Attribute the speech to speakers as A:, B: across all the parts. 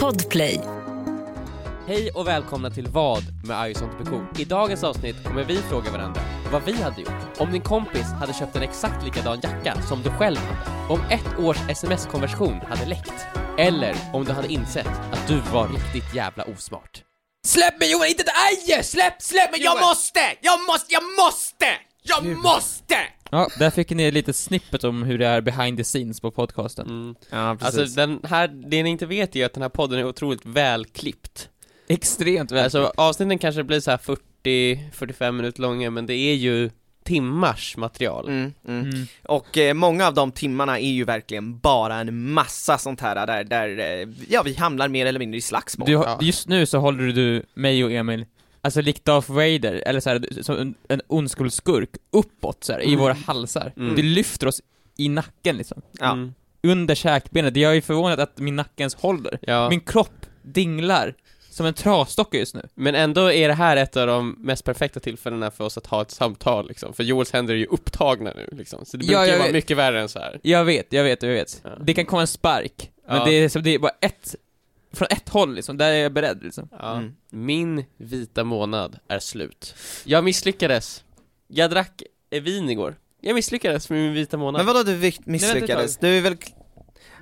A: Podplay.
B: Hej och välkomna till Vad med Arg sånt Beko. I dagens avsnitt kommer vi fråga varandra vad vi hade gjort om din kompis hade köpt en exakt likadan jacka som du själv hade, om ett års sms-konversation hade läckt, eller om du hade insett att du var riktigt jävla osmart. Släpp mig Johan, inte det! Aj! Släpp, släpp mig! Jag måste! Jag måste, jag måste! Jag måste!
C: Ja, där fick ni lite snippet om hur det är behind the scenes på podcasten.
B: Mm.
D: Ja, precis.
B: Alltså den här, det ni inte vet är ju att den här podden är otroligt välklippt.
C: Extremt väl.
B: Alltså avsnitten kanske blir så här 40-45 minuter långa men det är ju timmars material.
D: Mm, mm.
C: mm.
D: Och eh, många av de timmarna är ju verkligen bara en massa sånt här där, där eh, ja vi hamnar mer eller mindre i slagsmål.
C: du, har- Just nu så håller du mig och Emil, alltså likt Darth Vader, eller så här, som en, en ondskuldsskurk, uppåt så här, i våra halsar.
B: Mm.
C: Du lyfter oss i nacken liksom.
D: Ja.
B: Mm.
C: Under käkbenet. Jag är förvånad att min nacke ens håller.
B: Ja.
C: Min kropp dinglar som en trasdocka just nu.
B: Men ändå är det här ett av de mest perfekta tillfällena för oss att ha ett samtal liksom. För Joels händer är ju upptagna nu liksom. Så det
C: Ja,
B: brukar ju
C: jag
B: vara
C: vet.
B: mycket värre än så här.
C: Jag vet, jag vet, jag vet.
B: Ja.
C: Det kan komma en spark, men
B: Ja.
C: det, är, som- det är bara ett, från ett håll liksom, där är jag beredd liksom.
B: Ja.
D: Mm.
B: Min vita månad är slut. Jag misslyckades. Jag drack eh, vin igår. Jag misslyckades med min vita månad.
D: Men vadå du vick-
C: vänta
D: misslyckades? Du är väl...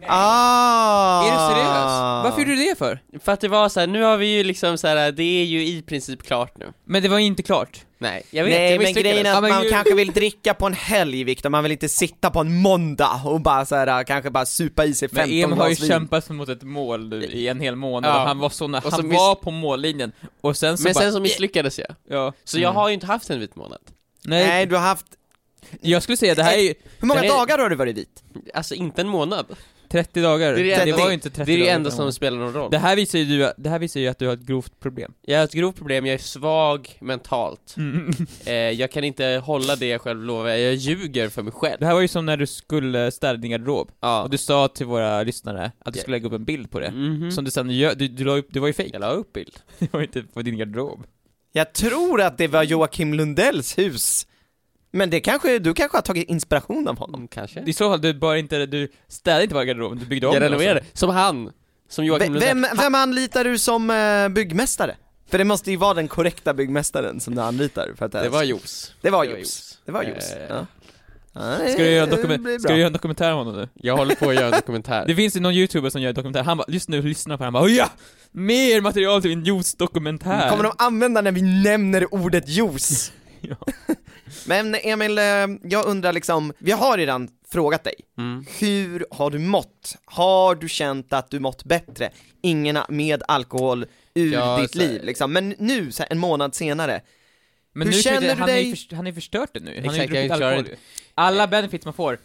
D: Ah!
C: Är du
B: Ah.
C: seriös? Varför gjorde du det för?
B: För att det var så här, nu har vi ju liksom så här, det är ju i princip klart nu.
C: Men det var ju inte klart.
B: Nej, jag vet,
D: Nej
B: jag
D: men grejen är
C: Ja,
D: att
C: men
D: man
C: ju-
D: kanske vill dricka på en helg Viktor, man vill inte sitta på en måndag och bara så här, kanske bara supa i sig
C: Men
D: 15
C: Em har ju
D: glas vin.
C: kämpat mot ett mål nu i en hel månad,
B: Ja.
C: och han var så när
B: Och så
C: han
B: miss-
C: var på mållinjen, och sen så
B: Men
C: bara,
B: sen så misslyckades jag.
C: ja, Mm.
B: Så
D: Mm.
B: jag har ju inte haft en vit månad.
C: nej,
D: Nej du har haft,
C: jag skulle säga det här är ju
D: hur många
B: Men det-
D: dagar har du varit vit?
B: Alltså inte en månad.
C: 30 dagar,
B: Det är det
C: det,
B: enda-
C: var ju inte 30
B: Det är ju
C: dagar
B: enda som
C: framåt.
B: spelar någon roll.
C: det här visar ju du, det här visar ju att du har ett grovt problem.
B: Jag har ett grovt problem, jag är svag mentalt.
C: Mm.
B: Eh, jag kan inte hålla det jag själv lovar, jag ljuger för mig själv.
C: Det här var ju som när du skulle städa din garderob,
B: Ja.
C: och du sa till våra lyssnare att du skulle lägga upp en bild på det.
B: Mhm.
C: Som du sen gör, du, du la upp, det var ju fejk.
B: Jag la upp bild.
C: Det var ju inte på din garderob.
D: Jag tror att det var Joakim Lundells hus. Men det kanske, du kanske har tagit inspiration av honom?
B: Mm, kanske.
C: I så fall, du bara inte, du städade inte bara garderoben, du byggde om
B: Jag
C: den
B: renoverade. Som han. Som Joakim
D: alltså. Ve-
B: Lundell.
D: Vem, vem anlitar du som eh, byggmästare? För det måste ju vara den korrekta byggmästaren som du anlitar för att
B: Det var Jos.
D: Det var
B: det var
D: Jos.
B: Jos.
D: Det var Jos.
B: Eh,
D: Ja.
C: också.
D: Ja,
C: Ska du göra en,
D: det
C: dokumen-
D: blir
C: ska
D: bra.
C: du göra en dokumentär om honom nu?
B: Jag håller på att göra en dokumentär.
C: Det finns ju någon youtuber som gör en dokumentär, han bara, just nu lyssnar på det, han bara "Åh ja! Mer material till min juice-dokumentär!
D: Kommer de använda när vi nämner ordet juice?
C: Ja.
D: Men Emil, eh, jag undrar liksom, vi har redan frågat dig.
B: Mm.
D: Hur har du mått? Har du känt att du mått bättre? Ingen med alkohol ur
B: Ja,
D: ditt
B: så-
D: liv liksom. Men nu, så här, en månad senare,
C: Men
D: Hur
C: nu kan
D: känner
C: ju inte-
D: du
C: han Är
D: dig?
C: ju först- han är ju förstört det nu, han har ju
B: Exakt, jag
C: druckit
B: klarar
C: alkohol
B: det.
C: ju. Alla benefits man får,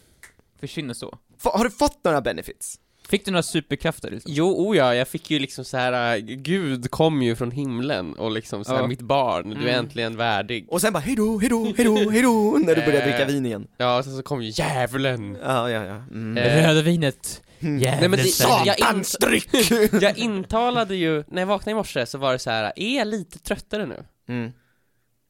C: försvinner så.
D: fa- har du fått några benefits?
C: Fick du några superkrafter liksom?
B: Jo, oh ja, jag fick ju liksom så här. äh, Gud kom ju från himlen och liksom så här,
C: Ja.
B: mitt barn, du är
D: Mm.
B: äntligen värdig.
D: Och sen bara hejdå, hejdå, hejdå, hejdå, när du börjar dricka
B: Eh.
D: vin igen.
B: Ja, och sen så kom ju djävulen.
D: Ja, ja, ja. Mm.
B: Eh,
C: Röda vinet,
B: Mm. Nej, men det, jag, in,
D: Satans dryck!
B: jag intalade ju, när jag vaknade i morse så var det så här. är jag lite tröttare nu?
D: Mm.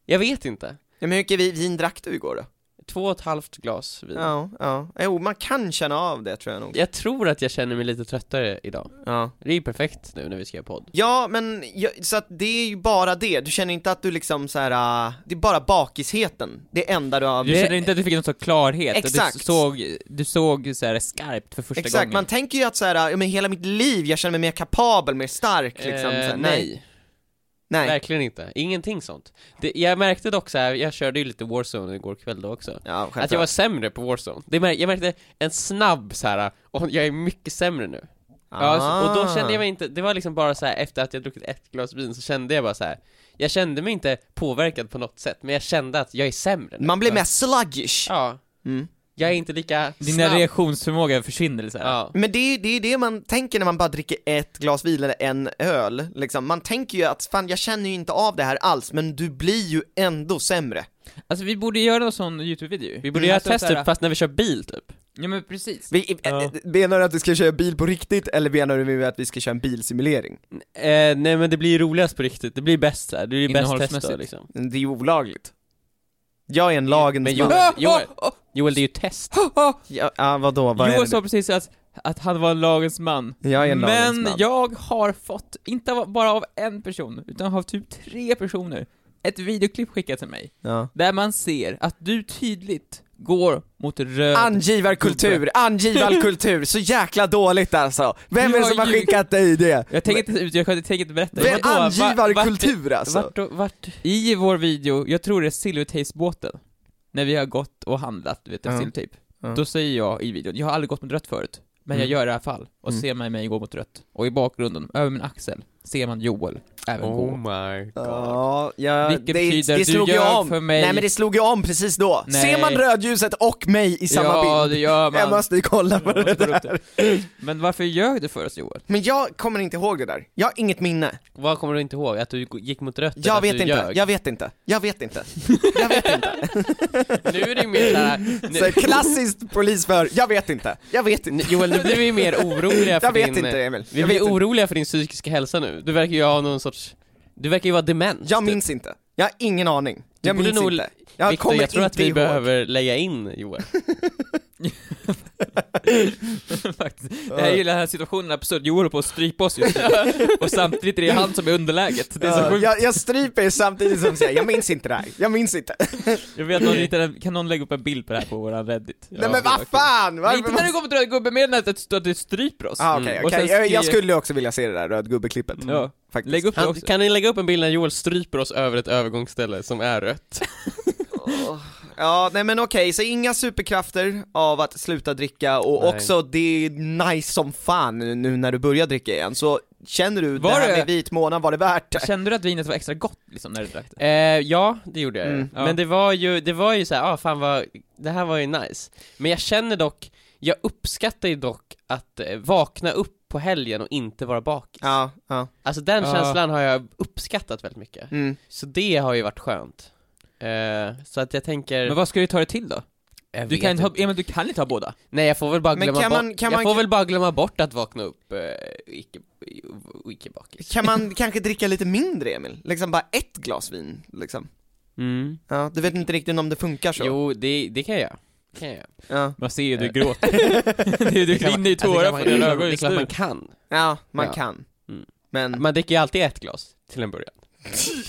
B: Jag vet inte.
D: Ja, men hur mycket vi- vin drack du igår då?
B: Två och ett halvt glas vin.
D: Ja, ja. Jo, man kan känna av det tror jag nog.
B: Jag tror att jag känner mig lite tröttare idag.
D: Ja.
B: Det är ju perfekt nu när vi ska göra podd.
D: Ja, men ja, så att det är ju bara det. Du känner inte att du liksom så här. äh, det är bara bakisheten. Det enda du har...
C: du känner inte att du fick någon sån klarhet? Att du
D: Exakt.
C: såg, du såg så här skarpt för första
D: Exakt,
C: gången?
D: man tänker ju att så här, äh, ja, men hela mitt liv, jag känner mig mer kapabel, mer stark liksom. så här,
B: Eh,
D: nej. Nej.
B: verkligen inte. Ingenting sånt. Det, jag märkte dock så här, jag körde ju lite Warzone igår kväll då också.
D: Ja,
B: Att
D: självklart.
B: jag var sämre på Warzone. Det mär, jag märkte en snabb så här. och jag är mycket sämre nu. Ja, så, och
D: Ah.
B: då kände jag mig inte, det var liksom bara så här efter att jag druckit ett glas vin så kände jag bara så här. jag kände mig inte påverkad på något sätt, men jag kände att jag är sämre nu.
D: Man blir
B: Ja.
D: mer sluggish.
B: Ja.
D: Mm.
B: Jag är inte lika
C: Dina
B: snabb.
C: reaktionsförmåga försvinner så här.
B: Ja.
D: Men det är det är det man tänker när man bara dricker ett glas vin eller en öl, liksom. Man tänker ju att fan, jag känner ju inte av det här alls, men du blir ju ändå sämre.
C: Alltså vi borde göra någon sån youtube-video
B: Vi borde göra ett
C: alltså,
B: test
C: så här-
B: typ, fast när vi kör bil typ.
C: Ja men precis
D: Vi,
C: Ja.
D: eh, Menar du att vi ska köra bil på riktigt, eller menar du att vi ska köra en bilsimulering?
B: Eh, nej men det blir ju roligast på riktigt, det blir bäst såhär, det blir bäst
C: Innehållsmässigt.
B: test då, liksom.
D: Det är ju olagligt. Jag är en lagens
B: Men
D: man.
B: Joel, Joel, Joel, det är ju test.
D: Ja, ah, vadå, vad är
C: Joel
D: det?
C: sa precis att att han var lagens man.
D: Jag är en lagens
C: Men
D: man.
C: jag har fått, inte av- bara av en person, utan av typ tre personer, ett videoklipp skickat till mig,
D: Ja.
C: där man ser att du tydligt går mot röd...
D: Angivarkultur, angivarkultur, så jäkla dåligt alltså! Vem är det
C: Jag
D: som har
C: ljuger.
D: skickat dig det?
C: jag tänker inte, ut- jag tänker inte berätta.
D: Vem,
C: Vadå? Va-
D: angivarkultur
C: vart-
D: alltså?
C: Vart, vart, I vår video, jag tror det är silvertejpsbåten, när vi har gått och handlat, vet du,
D: Ja.
C: silvertejp.
D: Ja.
C: Då säger jag i videon, jag har aldrig gått mot rött förut, men
D: Mm.
C: jag gör det i alla fall. Och
D: Mm.
C: ser man mig gå mot rött. Och i bakgrunden, över min axel, ser man Joel även gå.
B: Oh my god.
D: Ja, ja,
C: Vilket
D: det,
C: betyder
D: det
C: att du
D: slog ju
C: ljög
D: om.
C: för mig.
D: Nej men det slog ju om precis då.
C: Nej.
D: Ser man rödljuset och mig i samma
C: ja,
D: bild?
C: det gör man.
D: Jag måste ju kolla på
C: Jag måste
D: det
C: kolla upp
D: där.
C: Men varför ljög du för oss Joel?
D: Men jag kommer inte ihåg det där. Jag har inget minne.
B: Vad kommer du inte ihåg? Att du g- gick mot rött? eller
D: Jag
B: att
D: vet
B: du
D: inte,
B: ljög?
D: jag vet inte, jag vet inte. Jag vet inte.
B: Nu är det ju mer såhär,
D: Så här, klassiskt polisförhör, jag vet inte, jag vet inte.
B: Joel nu blir vi mer oroliga för
D: Jag vet
B: din... eh,
D: inte Emil.
B: Vi
D: Jag,
B: blir
D: vet inte.
B: oroliga för din psykiska hälsa nu. Du verkar ju ha någon sorts... Du verkar ju vara dement.
D: jag minns inte. Jag har ingen aning. Jag
B: borde
D: minns
B: nog-
D: inte. Jag
B: Victor,
D: kommer
B: jag tror
D: inte
B: att vi
D: ihåg.
B: behöver lägga in Joel.
C: Faktiskt. Jag gillar den här situationen absurd, Joel håller på att strypa oss just nu. Och samtidigt är det han som är underläget. Det är så
D: Ja,
C: sjukt.
D: jag, jag stryper er samtidigt som jag säger, jag minns inte det här, jag minns inte.
C: Jag vet någon hittar en, kan någon lägga upp en bild på det här på våran Reddit?
D: Nej men vad fan!
C: Nej,
D: Varför
C: inte
D: måste-
C: när du går mot röd gubbe, mer än att att du stryper oss.
D: Ah,
C: Mm.
D: okej,
C: Och
D: okej.
C: sen
D: jag, jag
C: skri-
D: skulle också vilja se det där rödgubbe-klippet.
C: Ja.
D: Faktiskt.
C: Lägg upp det
B: Han,
C: också.
B: kan ni lägga upp en bild när Joel stryper oss över ett övergångsställe som är rött?
D: Ja, nej men okej, så inga superkrafter av att sluta dricka och
B: Nej.
D: också det är nice som fan nu när du börjar dricka igen, så känner du
C: Var
D: det här
C: det-
D: med vit månad, var det värt det?
C: Kände du att vinet var extra gott liksom när du drack det?
B: Eh, ja, det gjorde jag ju.
D: Mm.
C: Ja.
B: Men det var ju, det var ju såhär, ah fan vad, det här var ju nice. Men jag känner dock, jag uppskattar ju dock att eh, vakna upp på helgen och inte vara bakis.
D: Ja, ja,
B: Alltså den
C: Ja.
B: känslan har jag uppskattat väldigt mycket.
D: mm.
B: Så det har ju varit skönt. Eh, så att jag tänker...
C: Men vad ska du ta det till då?
B: jag
C: Du
B: vet
C: kan inte ha,
B: inte.
C: ja, men du kan inte ha båda.
B: Nej jag får väl bara
D: Men
B: glömma
D: kan
B: bort,
D: man- kan
B: jag
D: man-
B: får väl bara glömma bort att vakna upp eh, icke, icke bakis.
D: Kan man kanske dricka lite mindre Emil? Liksom bara ett glas vin, liksom.
B: Mm.
D: Ja, du vet inte riktigt om det funkar så?
B: Jo, det, det kan jag göra. Det kan jag göra.
D: Ja,
C: Man ser ju
B: du
C: du gråter. du
B: Det kan man-
C: rinner ju
B: alltså, det kan
C: tårar
B: man-
C: från dina ögon
B: Det är
C: just
B: klart man
C: nu.
B: kan.
D: ja man
B: Ja.
D: kan.
B: Mm.
D: Men,
B: Man dricker ju alltid ett glas, till en början.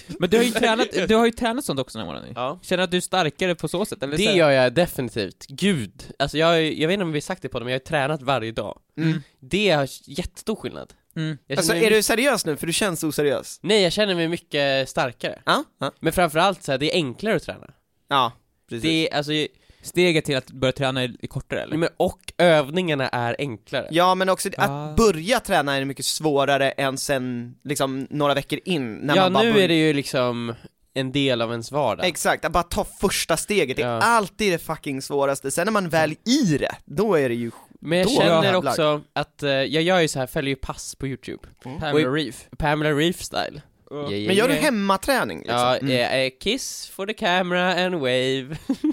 C: Men du har ju tränat, du har ju tränat sånt också den här morgonen.
B: Ja.
C: Känner att du är starkare på så sätt? Eller
B: Det
C: så här-
B: gör jag definitivt. Gud, alltså jag, har ju- jag vet inte om vi har sagt det på det, men jag har ju tränat varje dag.
D: mm.
B: Det har jättestor skillnad.
C: Mm.
B: Jag
D: Alltså
B: känner mig
D: är du seriös nu? För du känns oseriös.
B: Nej, jag känner mig mycket starkare.
D: Ja, ja.
B: Men framförallt så här, det är enklare att träna.
D: ja precis.
B: Det är, alltså,
C: Steget till att börja träna är är kortare eller?
B: men, och övningarna är enklare.
D: Ja men också det- att
C: Ah.
D: börja träna är mycket svårare än sen liksom några veckor in när
B: ja,
D: man bara
B: nu
D: börjar.
B: är det ju liksom en del av ens vardag.
D: Exakt, att bara ta första steget, det är
B: Ja.
D: alltid det fucking svåraste, sen när man väl i det, då är det ju
B: men jag
D: då
B: känner
D: jävlar.
B: också att, eh, jag gör ju så här, följer ju pass på youtube. Pamela
C: Reef.
B: Pamela Reef style. Yeah,
D: Mm. Men gör du
B: yeah.
D: hemmaträning liksom?
B: Ja,
D: Mm.
B: eh, eh, kiss for the camera and wave.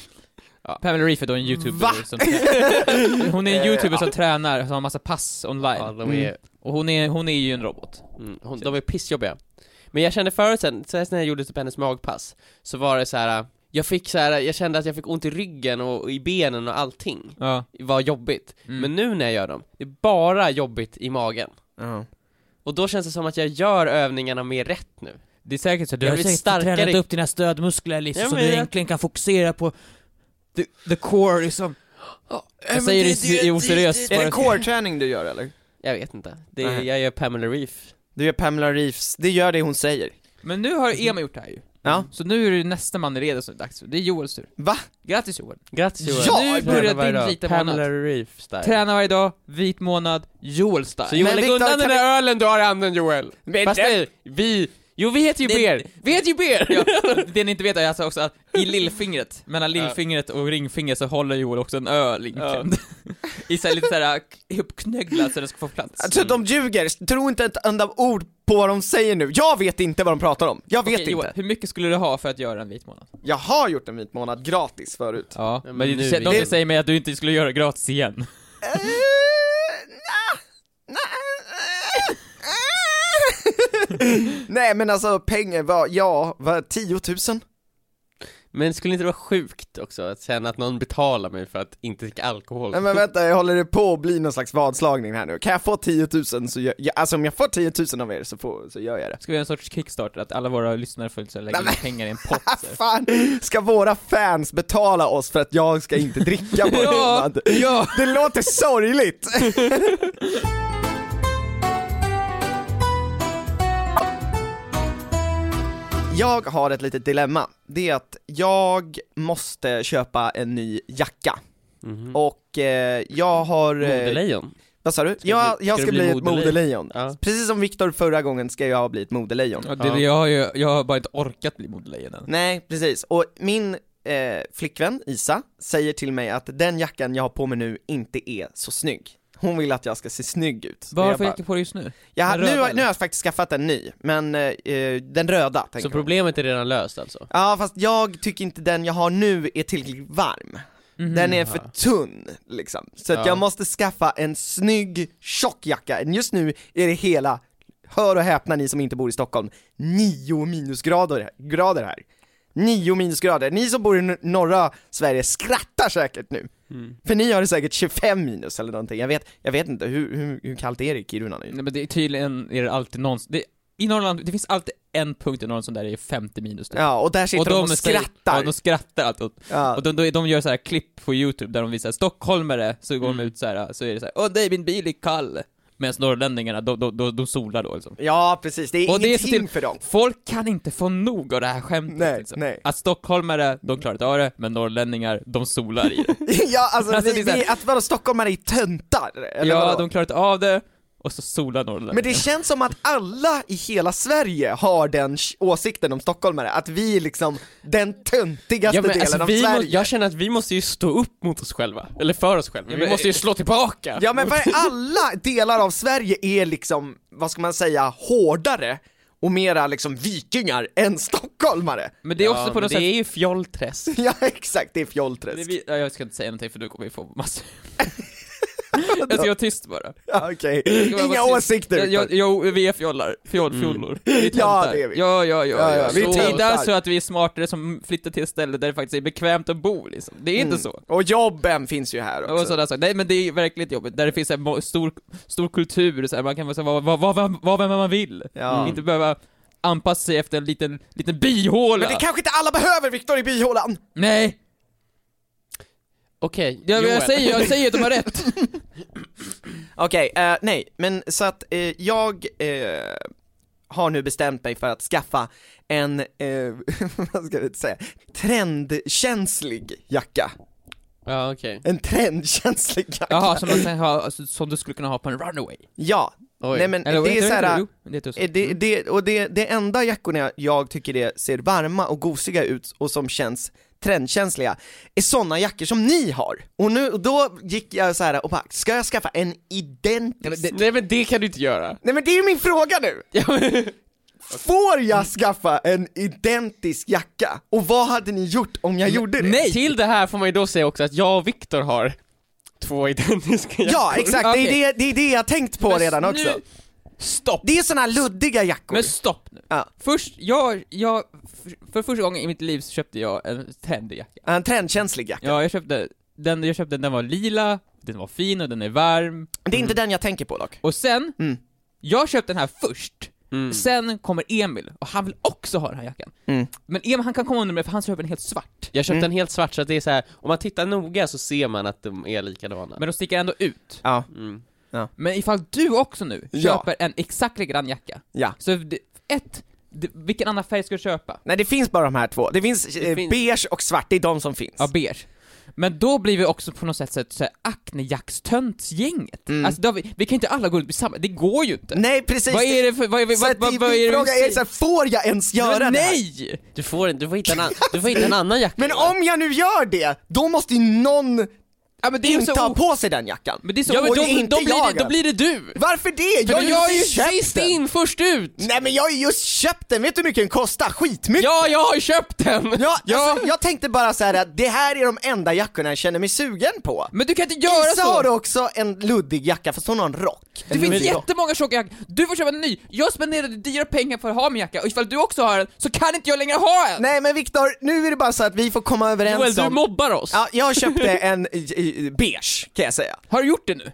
C: Pamela Reef är då en youtuber
D: Va?
C: som Hon är en youtuber som tränar, som har massa pass
B: Ja,
C: online.
B: de är,
C: Och hon är, hon är ju en robot.
B: mm, hon, de är pissjobbiga. Men jag kände förut sen, så här, när jag gjorde typ hennes magpass, så var det så här. eh, Jag fick så här, jag kände att jag fick ont i ryggen och, och i benen och allting.
C: Ja.
B: var jobbigt.
C: Mm.
B: Men nu när jag gör dem, det är bara jobbigt i magen.
D: Ja.
B: Och då känns det som att jag gör övningarna mer rätt nu.
C: Det är säkert så, du
B: Jag
C: har
B: blir
C: säkert
B: starkare.
C: tränat upp dina stödmuskler liksom,
B: Ja,
C: så
B: men
C: du
B: jag-
C: egentligen kan fokusera på the, the core liksom. Jag säger det oseriöst.
D: Är det
C: bara.
D: core-träning du gör eller?
B: Jag vet inte. Det är,
D: Nej.
B: jag gör Pamela Reef.
D: Du gör Pamela Reeves, det gör det hon säger.
C: Men nu har Emma gjort det här ju.
D: Ja.
C: Så nu är det nästa man i redo som är dags för. Det är Joels tur.
D: Va?
C: Grattis Joel.
B: Grattis Johan.
D: Ja,
B: Nu
D: jag
B: börjar
C: börjar
B: varje
C: din
B: dag.
C: vita
B: Pamela
C: månad.
B: Reef style.
C: Träna varje dag, vit månad, Joel style.
B: Så Joel,
D: Men
B: lägg
D: Viktor,
B: undan den
D: kan
B: där ölen du har i handen Joel!
D: Men
B: Fast
D: det-
B: nej, vi... Jo vi heter ju
C: Det-
B: Ber! Vi heter ju Ber!
C: Ja, det ni inte vet är alltså också att i lillfingret, mellan lillfingret och ringfingret så håller Joel också en öl inklämd. I så här, lite såhär ihopknögglad så den ska få plats. Mm.
D: Alltså de ljuger, tro inte ett enda ord på vad de säger nu, jag vet inte vad de pratar om, jag vet
C: Okej, Joel,
D: inte.
C: hur mycket skulle du ha för att göra en vit månad?
D: Jag har gjort en vit månad gratis förut.
C: Ja,
B: men
C: men,
B: nu
C: det-
B: igen.
C: de som säger mig att du inte skulle göra det gratis igen.
D: Eh, nja, nja, eh, eh. Nej men alltså pengar var, ja, var 10 000?
B: Men skulle inte det vara sjukt också att känna att någon betalar mig för att inte dricka alkohol?
D: Nej men vänta, jag håller det på att bli någon slags vadslagning här nu. Kan jag få 10 000 så gör, jag, alltså om jag får 10 000 av er så, får, så gör jag det.
C: Ska vi göra en sorts kickstarter, att alla våra lyssnare får så här lägga in pengar i en pott?
D: Ah,
C: så här.
D: fan, ska våra fans betala oss för att jag ska inte dricka på en månad?
C: ja!
D: Det låter sorgligt! Jag har ett litet dilemma. Det är att jag måste köpa en ny jacka.
B: Mhm.
D: Och eh, jag har... eh,
B: Modelejon?
D: Vad sa du?
B: Ska
D: Jag,
B: bli-
D: jag
B: ska
D: ska
B: du
D: bli
B: bli
D: ett
B: modelejon?
D: modelejon.
B: Ja.
D: Precis som Viktor förra gången ska jag bli ett modelejon.
C: Ja, det, jag, har ju, jag har bara inte orkat bli modelejon än.
D: Nej, precis. Och min eh, flickvän Isa säger till mig att den jackan jag har på mig nu inte är så snygg. Hon vill att jag ska se snygg ut. Och
C: Vad har du
D: jag
C: för
D: bara-
C: jacka på dig just nu?
D: jag, har-
C: Den
D: nu,
C: röda,
D: har- nu
C: eller?
D: har jag faktiskt skaffat en ny, men eh, den röda tänker
B: Så
D: hon.
B: problemet är redan löst alltså?
D: Ja fast jag tycker inte den jag har nu är tillräckligt varm. Den
C: Mm.
D: är för tunn liksom. Så att
B: Ja.
D: jag måste skaffa en snygg tjock jacka. Just nu är det hela, hör och häpna ni som inte bor i Stockholm, nio minusgrader grader här. Nio minusgrader. Ni som bor i n- norra Sverige skrattar säkert nu.
B: Mm.
D: För ni har det säkert 25 minus eller någonting. Jag vet, jag vet inte, hur, hur, hur kallt är det i Kiruna nu?
C: Nej men det är tydligen är det alltid någon, det, i Norrland, det finns alltid en punkt i Norrland som där är 50 minus typ.
D: Ja, och där sitter de och,
C: säger-
D: skrattar.
C: Ja, de skrattar alltid åt
D: Ja.
C: Och de, de, de gör så här klipp på youtube där de visar stockholmare, så går
D: Mm.
C: de ut så här, så är det så här, åh nej min bil är kall. Medan norrlänningarna, de, de, de, de solar då liksom.
D: ja, precis. Det är
C: Och det är
D: ingenting
C: så till-
D: för dem.
C: Folk kan inte få nog av det här skämtet
D: Nej,
C: liksom.
D: nej.
C: Att stockholmare, de klarar inte av det, men norrlänningar, de solar i det.
D: ja, alltså,
C: Alltså,
D: vi,
C: det är så här-
D: vi, att vadå, stockholmare är töntar? Eller
C: ja,
D: vadå?
C: de klarar inte av det, och så solar norrlänningar.
D: Men det känns som att alla i hela Sverige har den sh- åsikten om stockholmare, att vi är liksom den töntigaste
B: Ja, men,
D: delen
B: alltså,
D: av
B: vi må,
D: Sverige.
B: jag känner att vi måste ju stå upp mot oss själva, eller för oss själva, vi
C: men-
B: måste ju slå tillbaka!
D: Ja men vad är- alla delar av Sverige är liksom, vad ska man säga, hårdare och mera liksom vikingar än stockholmare.
C: Men det är också
B: Ja,
C: på
B: men
C: något
B: det
C: sätt...
B: är ju fjollträsk.
D: Ja exakt, det är
C: Det
D: fjollträsk.
C: vi- ja, jag ska inte säga någonting för då kommer vi få massor... jag ska vara tyst bara.
D: Ja, Okej,
C: ska bara
D: inga
C: vara
D: åsikter.
C: Jag, jag,
D: Viktor.
C: jag, vi är fjollor. Fjoll, fjollor. Vi
D: Ja,
C: töntar.
D: det är vi.
C: Ja, ja, ja.
D: Ja,
C: ja,
D: ja, vi
C: Så-
D: töntar.
C: Tida så att vi är smartare som flyttar till ett ställe där det faktiskt är bekvämt att bo liksom. Det är
D: Mm.
C: inte så.
D: Och jobben finns ju här
C: Och
D: också.
C: sådana saker. Nej men det är verkligen jobbigt, där det finns en mo- stor, stor kultur, så här, man kan vara så här, vara vara- vara- vara vem man vill. Mm.
D: Ja.
C: Inte behöva anpassa sig efter en liten, liten bihåla.
D: Men det kanske inte alla behöver Viktor i bihålan!
C: Nej!
B: Okej,
C: Jag,
B: Joel.
C: jag, säger, jag säger att de har rätt.
D: Okej, eh, nej, men så att eh, jag eh, har nu bestämt mig för att skaffa en, eh, vad ska jag säga, trendkänslig jacka.
B: Ja okej.
D: En trendkänslig jacka.
C: Jaha, som, man kan ha, alltså, som du skulle kunna ha på en runaway.
D: Ja,
B: Oj.
D: nej men
C: Eller,
D: det är
C: heter
D: såhär,
C: Jo, det heter så.
D: eh, det, det, och det, det enda jackorna jag, jag tycker det ser varma och gosiga ut och som känns trendkänsliga är sådana jackor som ni har. Och nu, och då gick jag så här och bara, ska jag skaffa en
B: Ja, men
D: identisk?
B: det, nej men det kan du inte göra.
D: Nej men det är ju min fråga nu! Får jag skaffa en identisk jacka? Och vad hade ni gjort om jag gjorde det?
B: Nej! Till det här får man ju då säga också att jag och Viktor har två identiska
D: Ja, exakt, det,
C: Okej.
D: är det, det är det jag tänkt på
C: Men
D: redan
C: nu-
D: också.
C: Stopp!
D: Det är såna här luddiga jackor.
C: Men stopp nu.
D: Ja.
C: Först, jag, jag, för, för första gången i mitt liv så köpte jag en trendig jacka.
D: En trendkänslig jacka.
C: Ja, jag köpte, den jag köpte, den var lila, den var fin och den är varm.
D: Det är inte den jag tänker på dock.
C: Och sen,
D: Mm.
C: jag köpte den här först,
B: Mm.
C: sen kommer Emil och han vill också ha den här jackan.
D: Mm.
C: Men Emil han kan komma under med för han köper en helt svart.
B: Jag köpte
D: Mm.
B: en helt svart så att det är så här. om man tittar noga så ser man att de är likadana.
C: Men de sticker ändå ut.
D: Ja.
B: Mm.
C: Men ifall du också nu
D: Ja.
C: köper en exakt likadan jacka,
D: Ja.
C: så det, ett, det, vilken annan färg ska du köpa?
D: Nej det finns bara de här två. Det finns, eh,
B: finns-
D: beige och svart, det är de som finns.
C: Ja, beige. Men då blir vi också på något sätt så här- så här Acne-jackstöntsgänget. Alltså, då har vi, vi kan inte alla gå ut med samma, det går ju inte.
D: Mm. Nej precis!
C: Vad är det för, vad är, vi-
D: så
C: vad,
D: att
C: vad,
D: min
C: vad är det vi
D: fråga är
C: säger?
D: så här, får jag ens göra
C: Men
D: det här?
C: Nej!
B: Du får, du får hitta en, an, du får hitta en annan jacka.
D: Men om jag nu gör det, då måste ju någon
C: Ja, men det är ju
D: inte
C: så
D: ha
C: o-
D: på sig den jackan.
C: Men det är så
B: Ja men
D: Och
B: då,
D: det är inte
B: då, blir
D: jag.
B: det, då blir det du!
D: Varför det?
B: För
D: har ju
B: jag, jag är ju
D: precis köpt
B: sist
D: den.
B: in, först ut!
D: Nej men jag har ju just köpt den, vet du hur mycket den kostar? Skitmycket!
B: Ja, jag har ju köpt den!
D: Ja, Alltså, jag tänkte bara så här att det här är de enda jackorna jag känner mig sugen på.
C: Men du kan inte göra
D: Lisa har
C: så!
D: också en luddig jacka fast hon har en rock.
C: Det
D: En
C: finns
D: luddig rock.
C: jättemånga tjocka jackor, du får köpa en ny! Jag spenderade dyra pengar för att ha min jacka, och ifall du också har en så kan inte jag längre ha en!
D: Nej men Viktor, nu är det bara så att vi får komma överens
B: Joel, du
D: om...
B: mobbar oss!
D: Ja, jag köpte en eh, eh, beige kan jag säga.
C: Har du gjort det nu?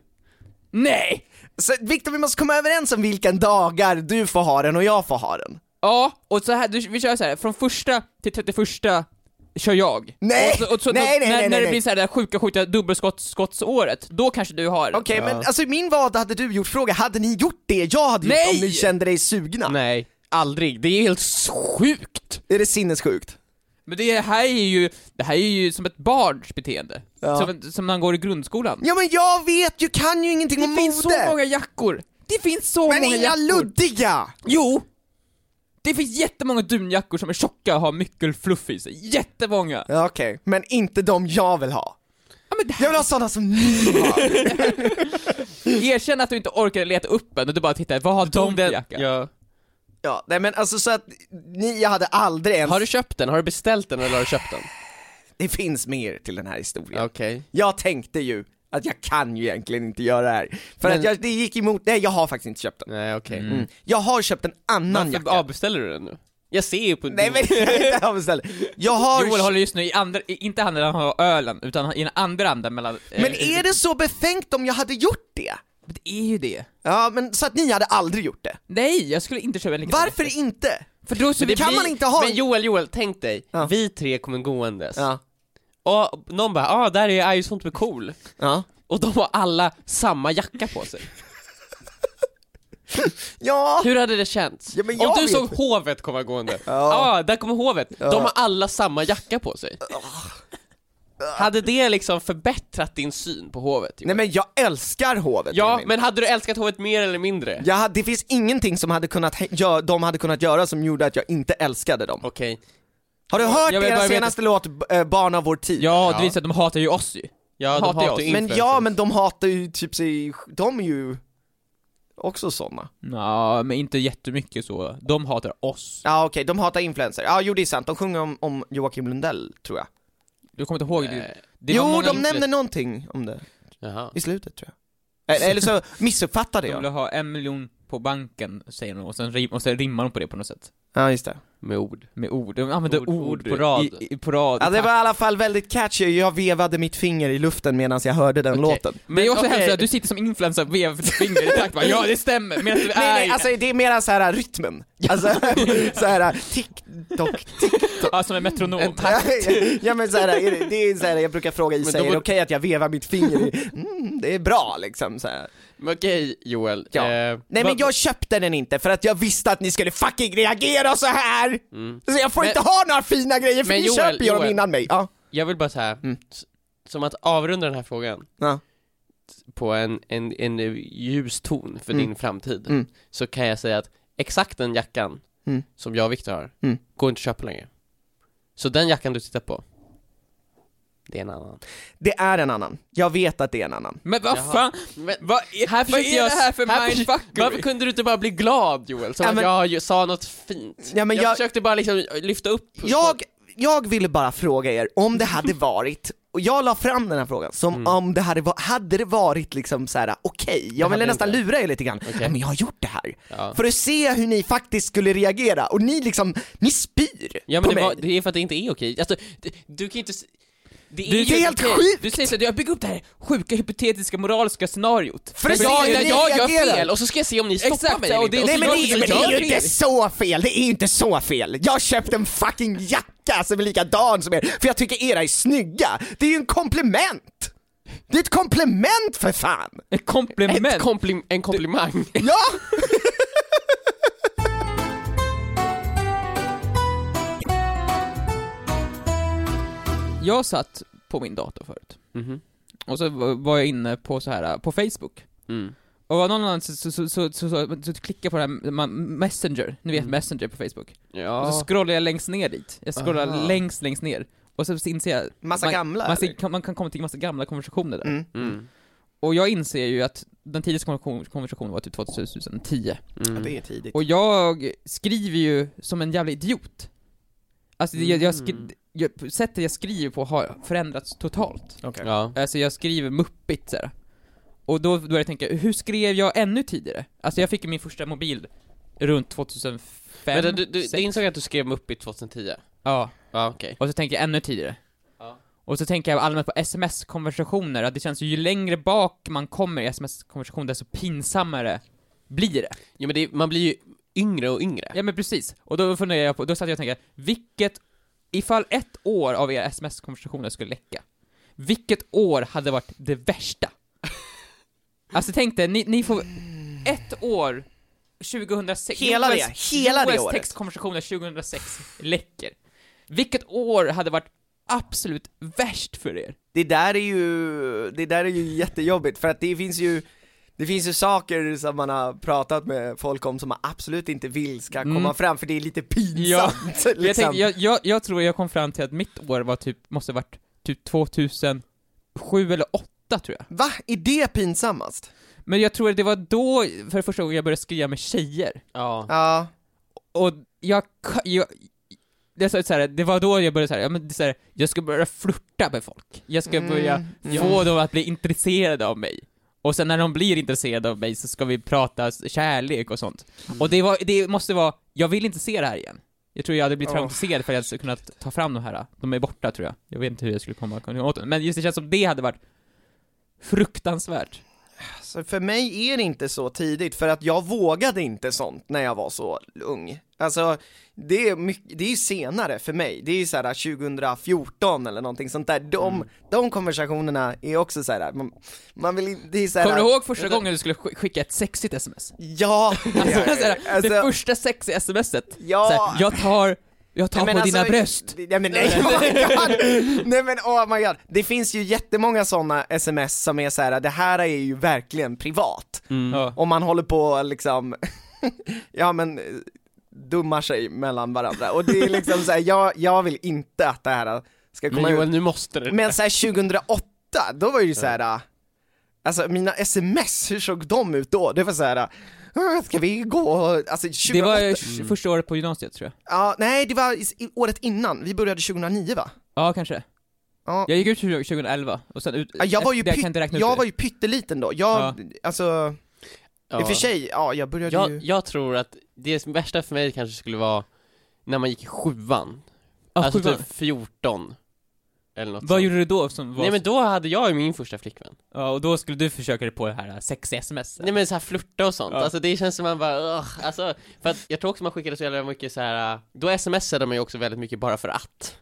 C: Nej!
D: Så Viktor vi måste komma överens om vilka dagar du får ha den och jag får ha den.
C: Ja, och så här, du, vi kör så här. från första till 31 kör jag.
D: Nej!
C: Och så, och så,
D: Nej, nej,
C: när,
D: nej, nej,
C: när det
D: nej.
C: blir så här, det här sjuka, sjuka dubbelskottsåret, då kanske du har den.
D: Okej men alltså min vad hade du gjort fråga, hade ni gjort det jag hade
C: Nej!
D: gjort om ni kände dig sugna?
B: Nej, aldrig. Det är helt sjukt!
D: Är det sinnessjukt?
C: Men det här är ju, det här är ju som ett barns beteende.
D: Ja.
C: Som, en- som när han går i grundskolan.
D: Ja men jag vet ju, kan ju ingenting
C: det
D: om
C: finns
D: mode!
C: så många jackor! Det finns så
D: men
C: många
D: inga
C: jackor!
D: luddiga!
C: Jo! Det finns jättemånga dunjackor som är tjocka och har mycket fluff i sig. Jättemånga!
D: Ja, Okej, men inte de jag vill ha.
C: Ja, men det här,
D: Jag vill ha sådana som ni har.
C: Erkänn att du inte orkar leta upp en och du bara tittar, vad har de för jacka?
B: ja.
D: ja, nej men alltså så att ni hade aldrig ens...
B: Har du köpt den? Har du beställt den eller har du köpt den?
D: Det finns mer till den här historien.
B: Okej.
D: Jag tänkte ju att jag kan ju egentligen inte göra det här. För
B: Men-
D: att jag, det gick emot, nej jag har faktiskt inte köpt den.
B: Nej okej.
D: Mm. Jag har köpt en annan
B: Varför
D: jacka.
B: avbeställer du den nu? Jag ser ju på din...
D: Nej men inte avbeställd. Jag har...
C: Joel håller just nu i andra, i- inte handen han har ölen, utan i den andra handen mellan... eh,
D: Men är det så befängt om jag hade gjort det?
C: Men det är ju det.
D: Ja men så att ni hade aldrig gjort det.
C: Nej, jag skulle inte köpa en likadan jacka.
D: Varför inte?
C: För då så
B: Men det
D: kan
B: blir-
D: man inte ha en-
B: Men Joel, Joel, tänk dig,
D: Ja.
B: vi tre kommer gåendes,
D: Ja.
B: och någon bara ah, där är I sånt med cool'
D: Ja.
B: och de har alla samma jacka på sig.
D: Ja!
B: Hur hade det känts?
D: Ja, men
B: Om
D: jag
B: du
D: vet
B: såg
D: inte.
B: hovet komma gående, ja
D: Ja.
B: ah, där kommer hovet, de har alla samma jacka på sig. Hade det liksom förbättrat din syn på hovet?
D: Ah.
B: Joel?
D: Nej men jag älskar hovet
B: ja,
D: Emil.
B: men hade du älskat hovet mer eller mindre?
D: Jag hade, det finns ingenting som hade kunnat, hä- gö- de hade kunnat göra som gjorde att jag inte älskade dem.
B: Okej,
D: Har du hört
C: Jag vill bara
D: deras
C: veta-
D: senaste låt, B- eh, Barn av vår tid?
C: Ja,
B: Ja.
C: det visar att de hatar ju oss ju.
B: ja, de
C: Hatar jag
B: hatar ju
C: oss.
D: men
B: influencers.
D: ja, men de hatar ju typ sig, de är ju också såna.
C: Ja, men inte jättemycket så. De hatar oss.
D: Ja okej, de hatar influencer. Ja jo det är sant, de sjunger om, om Joakim Lundell tror jag.
C: Du kommer inte ihåg
B: Nej.
C: det? det var
D: jo
C: många
D: de
C: influ-
D: nämner någonting om det
B: Jaha.
D: i slutet tror jag. Eh, Eller så missuppfattade
C: De
D: jag.
C: vill ha en miljon på banken, säger de, och sen, rim, och sen rimmar de på det på något sätt.
D: Ja just det.
B: Med ord.
C: Med ord. De använder
B: Ord-
C: ord,
B: ord
C: på rad.
B: i-
C: I, på rad.
D: Ja det var i alla fall väldigt catchy, jag vevade mitt finger i luften medan jag hörde den
B: Okej.
D: låten.
C: Men det är också
B: okej.
C: hemskt att du sitter som influencer och vevar ditt finger i takt bara, ja det stämmer, medan du är...
D: Nej, nej, alltså det är mera så här rytmen. Alltså så här äh, TikTok,
C: ja, som en metronom.
D: ja men så här, är det, det är så här, jag brukar fråga Isa,
B: då
D: är det
B: var-
D: okej att jag vevar mitt finger i? Mm, det är bra liksom så här.
B: Men okej Joel,
D: Ja.
B: eh,
D: Nej men
B: vad-
D: jag köpte den inte för att jag visste att ni skulle fucking reagera så här. Så jag får
B: Mm. Men-
D: inte ha några fina grejer för
B: Men
D: ni
B: Joel,
D: köper ju dem
B: Joel.
D: innan mig. Ja.
B: jag vill bara säga,
D: Mm.
B: s- som att avrunda den här frågan
D: Ja.
B: på en, en, en ljus ton för
D: Mm.
B: din framtid,
D: Mm.
B: så kan jag säga att exakt den jackan
D: Mm.
B: som jag och Viktor har,
D: Mm.
B: går inte att köpa längre. Så den jackan du tittar på, det är en annan.
D: Det är en annan. Jag vet att det är en annan.
C: Men vad
B: Jaha.
C: fan,
B: Men,
C: vad är,
B: Här
C: vad
B: försökte
C: är
B: jag-
C: det här för
B: här försökte- varför
C: mindfuckery?
B: kunde du inte bara bli glad Joel? Som
D: Ja,
B: att
D: men-
B: jag ju- sa något fint.
D: Ja, men
B: jag,
D: jag-
B: försökte bara liksom lyfta upp.
D: Jag, jag ville bara fråga er om det hade varit och jag la fram den här frågan som
B: Mm.
D: om det hade, va- hade det varit liksom så här: okej, jag
B: hade
D: ville nästan
B: inte.
D: lura er lite grann,
B: Okej.
D: ja, men jag har gjort det här.
B: Ja.
D: För att se hur ni faktiskt skulle reagera, och ni liksom, ni spyr
B: Ja
D: på
B: men det,
D: mig.
B: var, det är för att det inte är okej. Alltså, det, du kan ju inte... s- Det är,
D: Det är
B: ju
D: helt
B: okej.
D: sjukt!
C: Du säger såhär, jag bygger upp det här sjuka, hypotetiska, moraliska scenariot.
D: För att se
B: Ja,
D: hur
B: där
D: ni
B: jag gör
D: reagerar.
B: fel och så ska jag se om ni stoppar
C: Exakt,
B: mig
C: ja,
B: eller
C: och det-
B: inte.
D: Nej men,
B: Och så
D: det,
B: gör-
D: men det
B: så
D: är
B: gör
D: ju
B: vi
D: inte så fel, det är ju inte så fel! Jag köpte en fucking jacka som är likadan som er, för jag tycker era är snygga! Det är ju en komplement! Det är ett komplement för fan!
C: Ett
B: Ett Mm.
C: komplement.
B: komplim- en komplimang.
D: Ja!
C: jag satt på min dator förut.
B: Mhm.
C: Och så v- var jag inne på så här på Facebook.
B: Mm.
C: Och av någon anledning så, så, så, så, så, så, så klickade jag på den här man-
D: Mm.
C: Messenger, ni vet Messenger på Facebook.
B: Ja.
C: Och så scrollade jag längst ner dit. Jag scrollade
D: Aha.
C: längst, längst ner. Och sen så inser jag...
D: Massa
C: man,
D: gamla,
C: man, ser-
D: eller?
C: kan, man kan komma till massa gamla konversationer där.
D: Mm.
B: Mm.
C: Och jag inser ju att den tidigaste konver- konversationen var typ 2010.
D: Ja,
B: Mm.
D: det är tidigt.
C: Och jag skriver ju som en jävla idiot. Alltså jag, jag,
B: Mm.
C: skri- jag, sättet jag skriver på har förändrats totalt.
D: Okej.
B: Ja.
C: Alltså jag skriver muppigt så här. Och då började jag tänka, hur skrev jag ännu tidigare? Alltså jag fick ju min första mobil runt 2005,
B: Men du, du, du,
C: sex.
B: du insåg att du skrev upp i 2010?
C: Ja,
B: Ja, okej.
C: och så tänker jag ännu tidigare.
B: Ja.
C: Och så tänker jag allmänt på sms-konversationer, att det känns ju, ju längre bak man kommer i sms-konversation desto pinsammare blir det.
B: Jo men det, är- man blir ju yngre och yngre.
C: Ja men precis, och då funderar jag på, då satt jag och tänkte, vilket, ifall ett år av era sms-konversationer skulle läcka, vilket år hade varit det värsta? alltså tänk dig, ni, ni får ett år, 2006,
D: Hela det,
C: Joels-
D: hela det
C: Joels
D: året.
C: textkonversationer 2006 läcker. Vilket år hade varit absolut värst för er?
D: Det där är ju, det där är ju jättejobbigt för att det finns ju det finns ju saker som man har pratat med folk om som man absolut inte vill ska komma
C: Mm.
D: fram för det är lite
C: Ja.
D: pinsamt liksom.
C: Jag, tänkte, jag, jag, jag tror jag kom fram till att mitt år var typ, måste ha varit typ 2007 eller 8 tror jag.
D: Va? Är det pinsammast?
C: Men jag tror att det var då, för första gången, jag började skriva med tjejer.
B: Ja.
D: Ja,
C: Och jag... jag det, är så så här, det var då jag började säga, ja, men det är så här, jag ska börja flirta med folk. Jag ska
D: Mm,
C: börja
D: ja.
C: få dem att bli intresserade av mig. Och sen när de blir intresserade av mig så ska vi prata s- kärlek och sånt.
D: Mm.
C: Och det, var, det måste vara, jag vill inte se det här igen. Jag tror jag hade blivit
D: Åh.
C: traumatiserad för att jag hade kunnat ta fram de här. De är borta tror jag. Jag vet inte hur jag skulle komma komma åt dem. Men just det känns som det hade varit fruktansvärt.
D: så för mig är det inte så tidigt för att jag vågade inte sånt när jag var så ung. Alltså, det är, mycket, det är senare för mig, det är ju så här 2014 eller någonting sånt där. De,
C: Mm.
D: de konversationerna är också så här, man, man vill inte, det är så här,
C: Kommer du ihåg första gången du skulle sk- skicka ett sexigt sms?
D: Ja!
C: Alltså,
D: Ja, ja,
C: såhär,
D: ja. Alltså,
C: det första sexiga smset.
D: Ja.
C: Såhär, jag tar, jag tar
D: nej,
C: på
D: men
C: dina
D: alltså,
C: bröst.
D: Nej men nej, oh my god! Nej men oh my god, det finns ju jättemånga sådana sms som är så här: det här är ju verkligen privat.
C: Ja.
D: Om man håller på och liksom, ja men eh, dummar sig mellan varandra. Och det är liksom såhär, jag, jag vill inte att det här ska komma
B: Men Joel,
D: ut.
B: nu måste du.
D: Men såhär 2008, då var det ju såhär, eh, alltså mina sms, hur såg de ut då? Det var såhär, eh, ska vi gå, och- alltså 2008.
C: Det var eh, tj- första året på gymnasiet tror jag.
D: Ja, nej det var i, i, året innan, vi började 2009 va?
C: Ja, kanske.
D: Ja.
C: Jag gick ut 20- 2011 och sen ut...
D: Ja, jag var ju,
C: det- jag kan inte
D: pytt-
C: räkna ut
D: jag
C: det.
D: var ju pytteliten då, jag,
C: Ja.
D: alltså, i
B: Ja.
D: och för sig, ja jag började
B: jag,
D: ju
B: jag tror att det värsta för mig kanske skulle vara när man gick i sjuan.
C: Ja,
B: alltså
C: sjuan.
B: typ 14. Eller något
C: Vad
B: sånt.
C: gjorde du då som var...
B: Nej men då hade jag ju min första flickvän.
C: Ja, och då skulle du försöka dig på det här eh, sexiga sms.
B: Nej men så här flirta och sånt,
C: Ja.
B: alltså det känns som man bara ugh. alltså, för att jag tror också man skickade så jävla mycket så här. då smsade man ju också väldigt mycket bara för att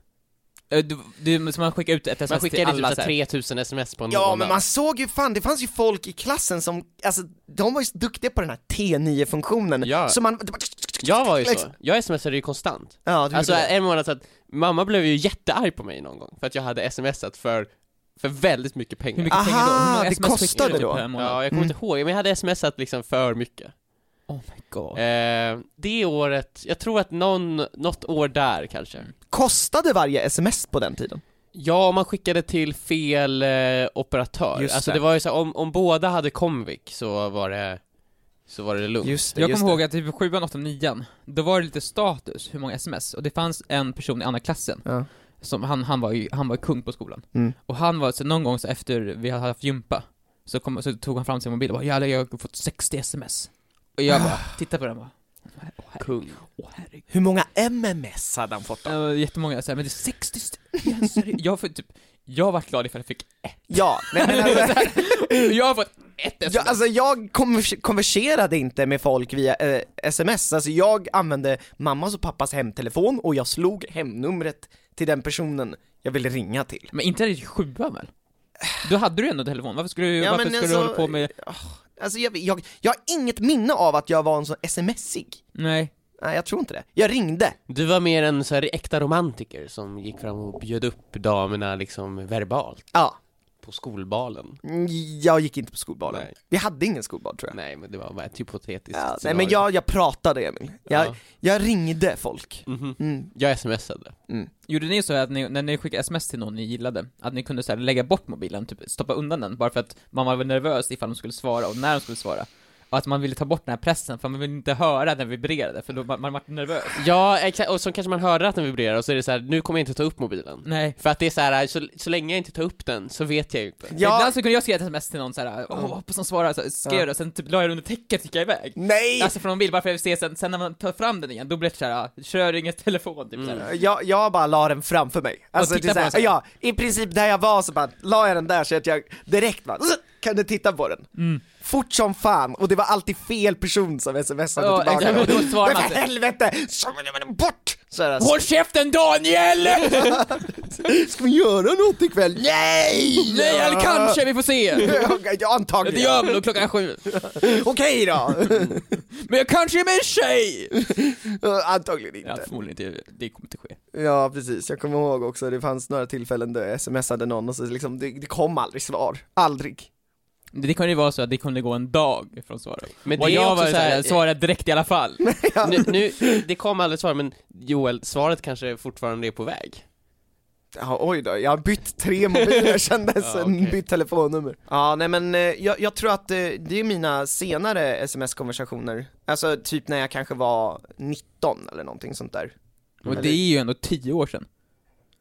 C: Eh, Du, du, så man skickade ut ett sms
B: Man
C: till
B: skickade
C: alla
B: typ
C: så
B: så
C: här.
B: här 3000 sms på en
D: Ja men
B: månad
D: man såg ju fan, det fanns ju folk i klassen som, alltså de var ju så duktiga på den här T9-funktionen,
B: Ja.
D: så man, det bara-
B: Jag var ju så,
D: liksom-
B: jag smsade ju konstant
D: Ja, du
B: Alltså
D: gjorde det.
B: en månad så att mamma blev ju jättearg på mig någon gång för att jag hade smsat för, för väldigt mycket
C: Hur
B: pengar
C: mycket pengar då? Hur
D: Aha,
C: många
D: det
C: sms skickade du
D: kostade
C: typ
D: då?
C: per månad?
B: Ja, jag kommer
D: Mm.
B: inte ihåg, men jag hade smsat liksom för mycket
C: Oh my god.
B: eh, Det året, jag tror att någon, något år där kanske
D: Kostade varje sms på den tiden?
B: Ja, man skickade till fel eh, operatör.
D: Just
B: alltså
D: det.
B: det var ju så här, om, om båda hade Comviq så var det, så var det lugnt.
D: Just
C: Jag kommer ihåg att typ i sjuan, åttan, nian, då var det lite status hur många sms, och det fanns en person i andra klassen,
D: Ja.
C: som han, han, var ju, han var ju kung på skolan.
D: Mm.
C: Och han var, så någon gång så efter vi hade haft gympa, så, kom, så tog han fram sin mobil och bara 'Jävlar, jag har fått 60 sms' Och jag bara, tittade på den och bara Åh herre-
B: Kung.
C: åh, herregud,
D: Hur många MMS hade han fått då?
C: det var jättemånga så här, men det är 60 st- jag, seriöst." jag, får typ, jag vart glad ifall jag fick
D: Ja, nej men alltså,
C: Jag har fått ett sms!
D: jag, alltså jag konver- konverserade inte med folk via eh, sms, alltså jag använde mammas och pappas hemtelefon och jag slog hemnumret till den personen jag ville ringa till.
C: Men inte i sjuan väl? Då hade du ändå telefon, varför skulle, du-
D: Ja,
C: varför
D: men
C: skulle du
D: alltså-
C: hålla på med...
D: Alltså jag, jag, jag har inget minne av att jag var en sån smsig.
C: Nej.
D: Nej jag tror inte det. Jag ringde.
B: Du var mer en så här äkta romantiker som gick fram och bjöd upp damerna liksom verbalt
D: Ja.
B: på på skolbalen.
D: Mm, Jag gick inte på skolbalen.
B: Nej.
D: Vi hade ingen skolbal tror jag.
B: Nej, men det var bara ett hypotetiskt
D: Ja, nej
B: scenario.
D: men jag, jag pratade Emil. Jag,
B: Ja.
D: jag ringde folk.
B: Mhm.
D: Mm.
B: Jag smsade.
C: Gjorde ni så att ni, när ni skickade sms till någon ni gillade, att ni kunde så här, lägga bort mobilen, typ stoppa undan den, bara för att man var nervös ifall de skulle svara och när de skulle svara? Och att man ville ta bort den här pressen, för man ville inte höra den vibrerade, för då man, man var nervös.
B: Ja, exakt, och så kanske man hörde att den vibrerar och så är det så här, nu kommer jag inte ta upp mobilen.
C: Nej.
B: För att det är så här, så, så länge jag inte tar upp den så vet jag ju inte.
C: Ja.
D: Jag,
C: Ibland så kunde jag skriva ett sms till någon såhär, åh hoppas de svarar, så skrev
D: Ja.
C: jag det och sen typ la jag det under täcket och gick jag iväg.
D: nej!
C: Alltså från mobil, bara för att se sen, sen när man tar fram den igen, då blir det såhär, kör inget telefon typ såhär.
D: Eh, Jag, jag bara la den framför mig. Alltså,
C: titta
D: det är
C: på
D: så
C: den
D: här,
C: så här.
D: ja, i princip där jag var så bara la jag den där så att jag direkt bara, "Ugh!" kan du titta på den?
C: Mm.
D: Fort som fan, och det var alltid fel person som smsade
C: Ja,
D: tillbaka.
C: exakt, och då svarar
D: men
C: man
D: för
C: inte.
D: helvete! Så men jag menar, Bort! Så här,
C: Håll käften Daniel!
D: Ska vi göra något ikväll? Nej!
C: Nej, eller kanske, vi får se!
D: Ja,
C: Det
D: antagligen.
C: gör vi nog klockan sju.
D: Okej då!
C: Men jag kanske är med en tjej!
D: antagligen
C: Ja,
D: inte.
C: förmodligen inte, det kommer inte ske.
D: Ja precis, jag kommer ihåg också, det fanns några tillfällen där jag smsade någon och så liksom, det, det kom aldrig svar. Aldrig.
C: Det det kunde ju vara så att det kunde gå en dag från svaret.
B: Men
C: Och
B: det är
C: jag
B: också
C: var
B: så här-
C: såhär, svarade direkt i alla fall.
B: Nu, nu, det kom aldrig svar, men Joel, svaret kanske fortfarande är på väg.
D: Ja, oj då, jag har bytt tre mobiler kändes,
B: Ja, okej.
D: bytt telefonnummer. Ja, nej men eh, jag, jag tror att eh, det är mina senare sms-konversationer, alltså typ när jag kanske var 19 eller någonting sånt där.
C: Och det är ju ändå tio år sedan.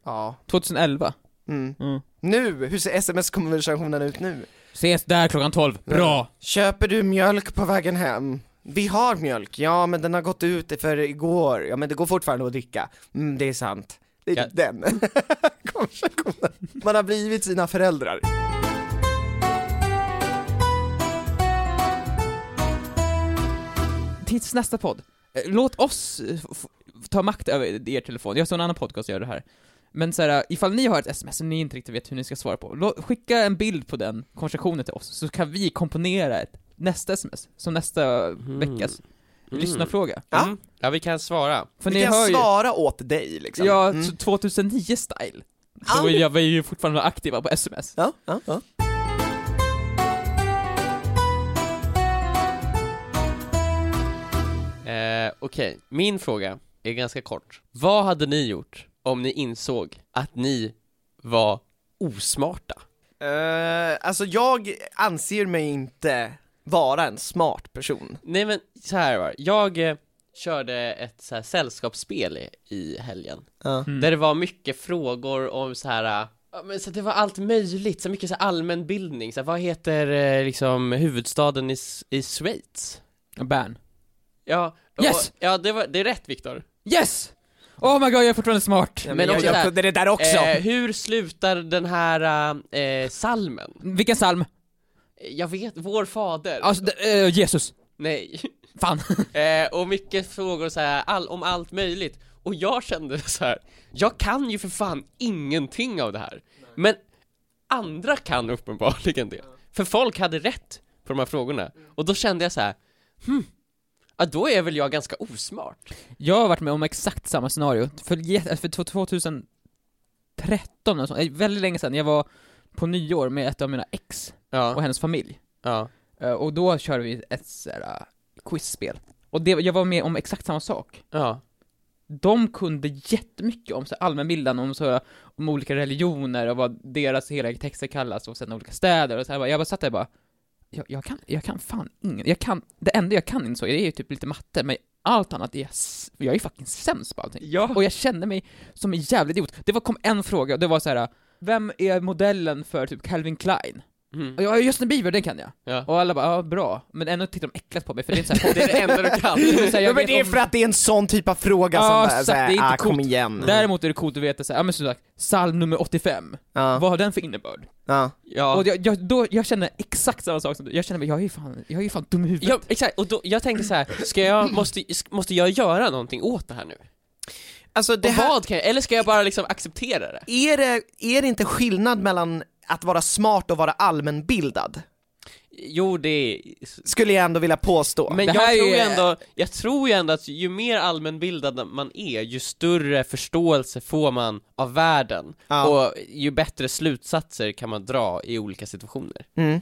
D: Ja.
C: 2011.
D: Mm.
C: Mm.
D: Nu, hur ser sms-konversationen ut nu?
C: Ses där klockan 12, bra!
D: Köper du mjölk på vägen hem? Vi har mjölk, ja men den har gått ut för igår, ja men det går fortfarande att dricka. Mm, det är sant. Det är
B: Ja.
D: typ den konversationen. Man har blivit sina föräldrar.
C: Tills nästa podd. Eh, Låt oss eh, f- f- ta makt över er telefon. Jag såg en annan podcast som gör det här. Men så här, eh, ifall ni har ett sms som ni inte riktigt vet hur ni ska svara på, lå- skicka en bild på den konversationen till oss, så kan vi komponera ett nästa sms, som nästa veckas
B: Mm.
C: lyssnarfråga.
D: Ja.
B: Mm. Ja, vi kan svara.
C: För
D: Vi
C: ni
D: kan
C: hör ju,
D: svara åt dig liksom.
C: ja,
D: Mm.
C: så 2009-style.
D: Ah.
C: Då vill jag, vi är ju fortfarande aktiva på sms.
D: Ja, ja, ja.
B: Eh, Okej, min fråga är ganska kort. Vad hade ni gjort om ni insåg att ni var osmarta?
D: Eh, alltså jag anser mig inte vara en smart person.
B: Nej men så här var det. jag eh, körde ett så här sällskapsspel i, i helgen.
C: Mm.
B: Där det var mycket frågor om så här, eh, ja, men så att det var allt möjligt, så mycket så här allmänbildning, så här, vad heter eh, liksom huvudstaden i, S- i Schweiz?
C: Bern.
B: Ja, och-
C: Yes!
B: ja det, var, det är rätt Viktor.
C: Yes! Oh my god, jag är fortfarande smart!
B: men jag- jag kunde
D: det där
B: Eh, hur slutar den här eh, eh, salmen?
C: Mm, Vilken psalm?
B: Jag vet, vår fader.
C: Alltså, d- eh, Jesus.
B: Nej.
C: Fan.
B: Eh, och mycket frågor så här, all, om allt möjligt. Och jag kände så här, jag kan ju för fan ingenting av det här. Men andra kan uppenbarligen det. För folk hade rätt på de här frågorna. Och då kände jag så här, hmm, ja, då är väl jag ganska osmart.
C: Jag har varit med om exakt samma scenario, för, jä- för 2013 eller sånt, eh, väldigt länge sedan, jag var på nyår med ett av mina ex och
B: Ja,
C: hennes familj,
B: ja.
C: Eh, och då körde vi ett sådär quizspel, och det, jag var med om exakt samma sak.
B: ja.
C: De kunde jättemycket om så här allmänbildande, om, så här, om olika religioner och vad deras hela texter kallas och sen olika städer och så här. Jag bara satt där och bara, jag, jag, kan, jag kan fan ingen, jag kan, det enda jag kan insåg, det är ju typ lite matte, men allt annat är jag, s- jag är fucking sämst på allting.
B: Ja.
C: Och jag kände mig som en jävla idiot. Det var, kom en fråga och det var så här. vem är modellen för typ Calvin Klein? Och
B: Mm.
C: jag, Justin Bieber, den kan jag.
B: Ja.
C: Och alla bara, ja bra. Men ändå tittar de äckligt på mig för det är inte såhär,
B: Det är det enda du kan.
C: det är så här, jag
D: Ja, men
C: vet
D: det är
C: om-
D: för att det är en sån typ av fråga som
C: Ja,
D: bara,
C: exakt,
D: så här,
C: det är inte
D: ah, kom
C: coolt.
D: igen.
C: Däremot är det coolt att veta såhär, ja men som sagt, psalm nummer 85,
D: Ja,
C: vad har den för innebörd?
D: ja.
B: Ja.
C: Och jag, jag, då, jag känner exakt samma sak som du, jag känner mig, jag är ju fan, jag är ju fan dum i huvudet.
B: Ja, exakt, och då, jag tänkte så här, ska jag, måste, måste jag göra någonting åt det här nu?
D: Alltså det
B: Och
D: här,
B: vad kan jag, eller ska jag bara liksom acceptera det?
D: är det, är det inte skillnad mellan att vara smart och vara allmänbildad?
B: jo det är...
D: Skulle jag ändå vilja påstå.
B: Men
C: Det
B: jag
C: här
B: tror, ju
C: är-
B: ändå, jag tror ju ändå att ju mer allmänbildad man är, ju större förståelse får man av världen.
D: Ja.
B: Och ju bättre slutsatser kan man dra i olika situationer.
D: Mm.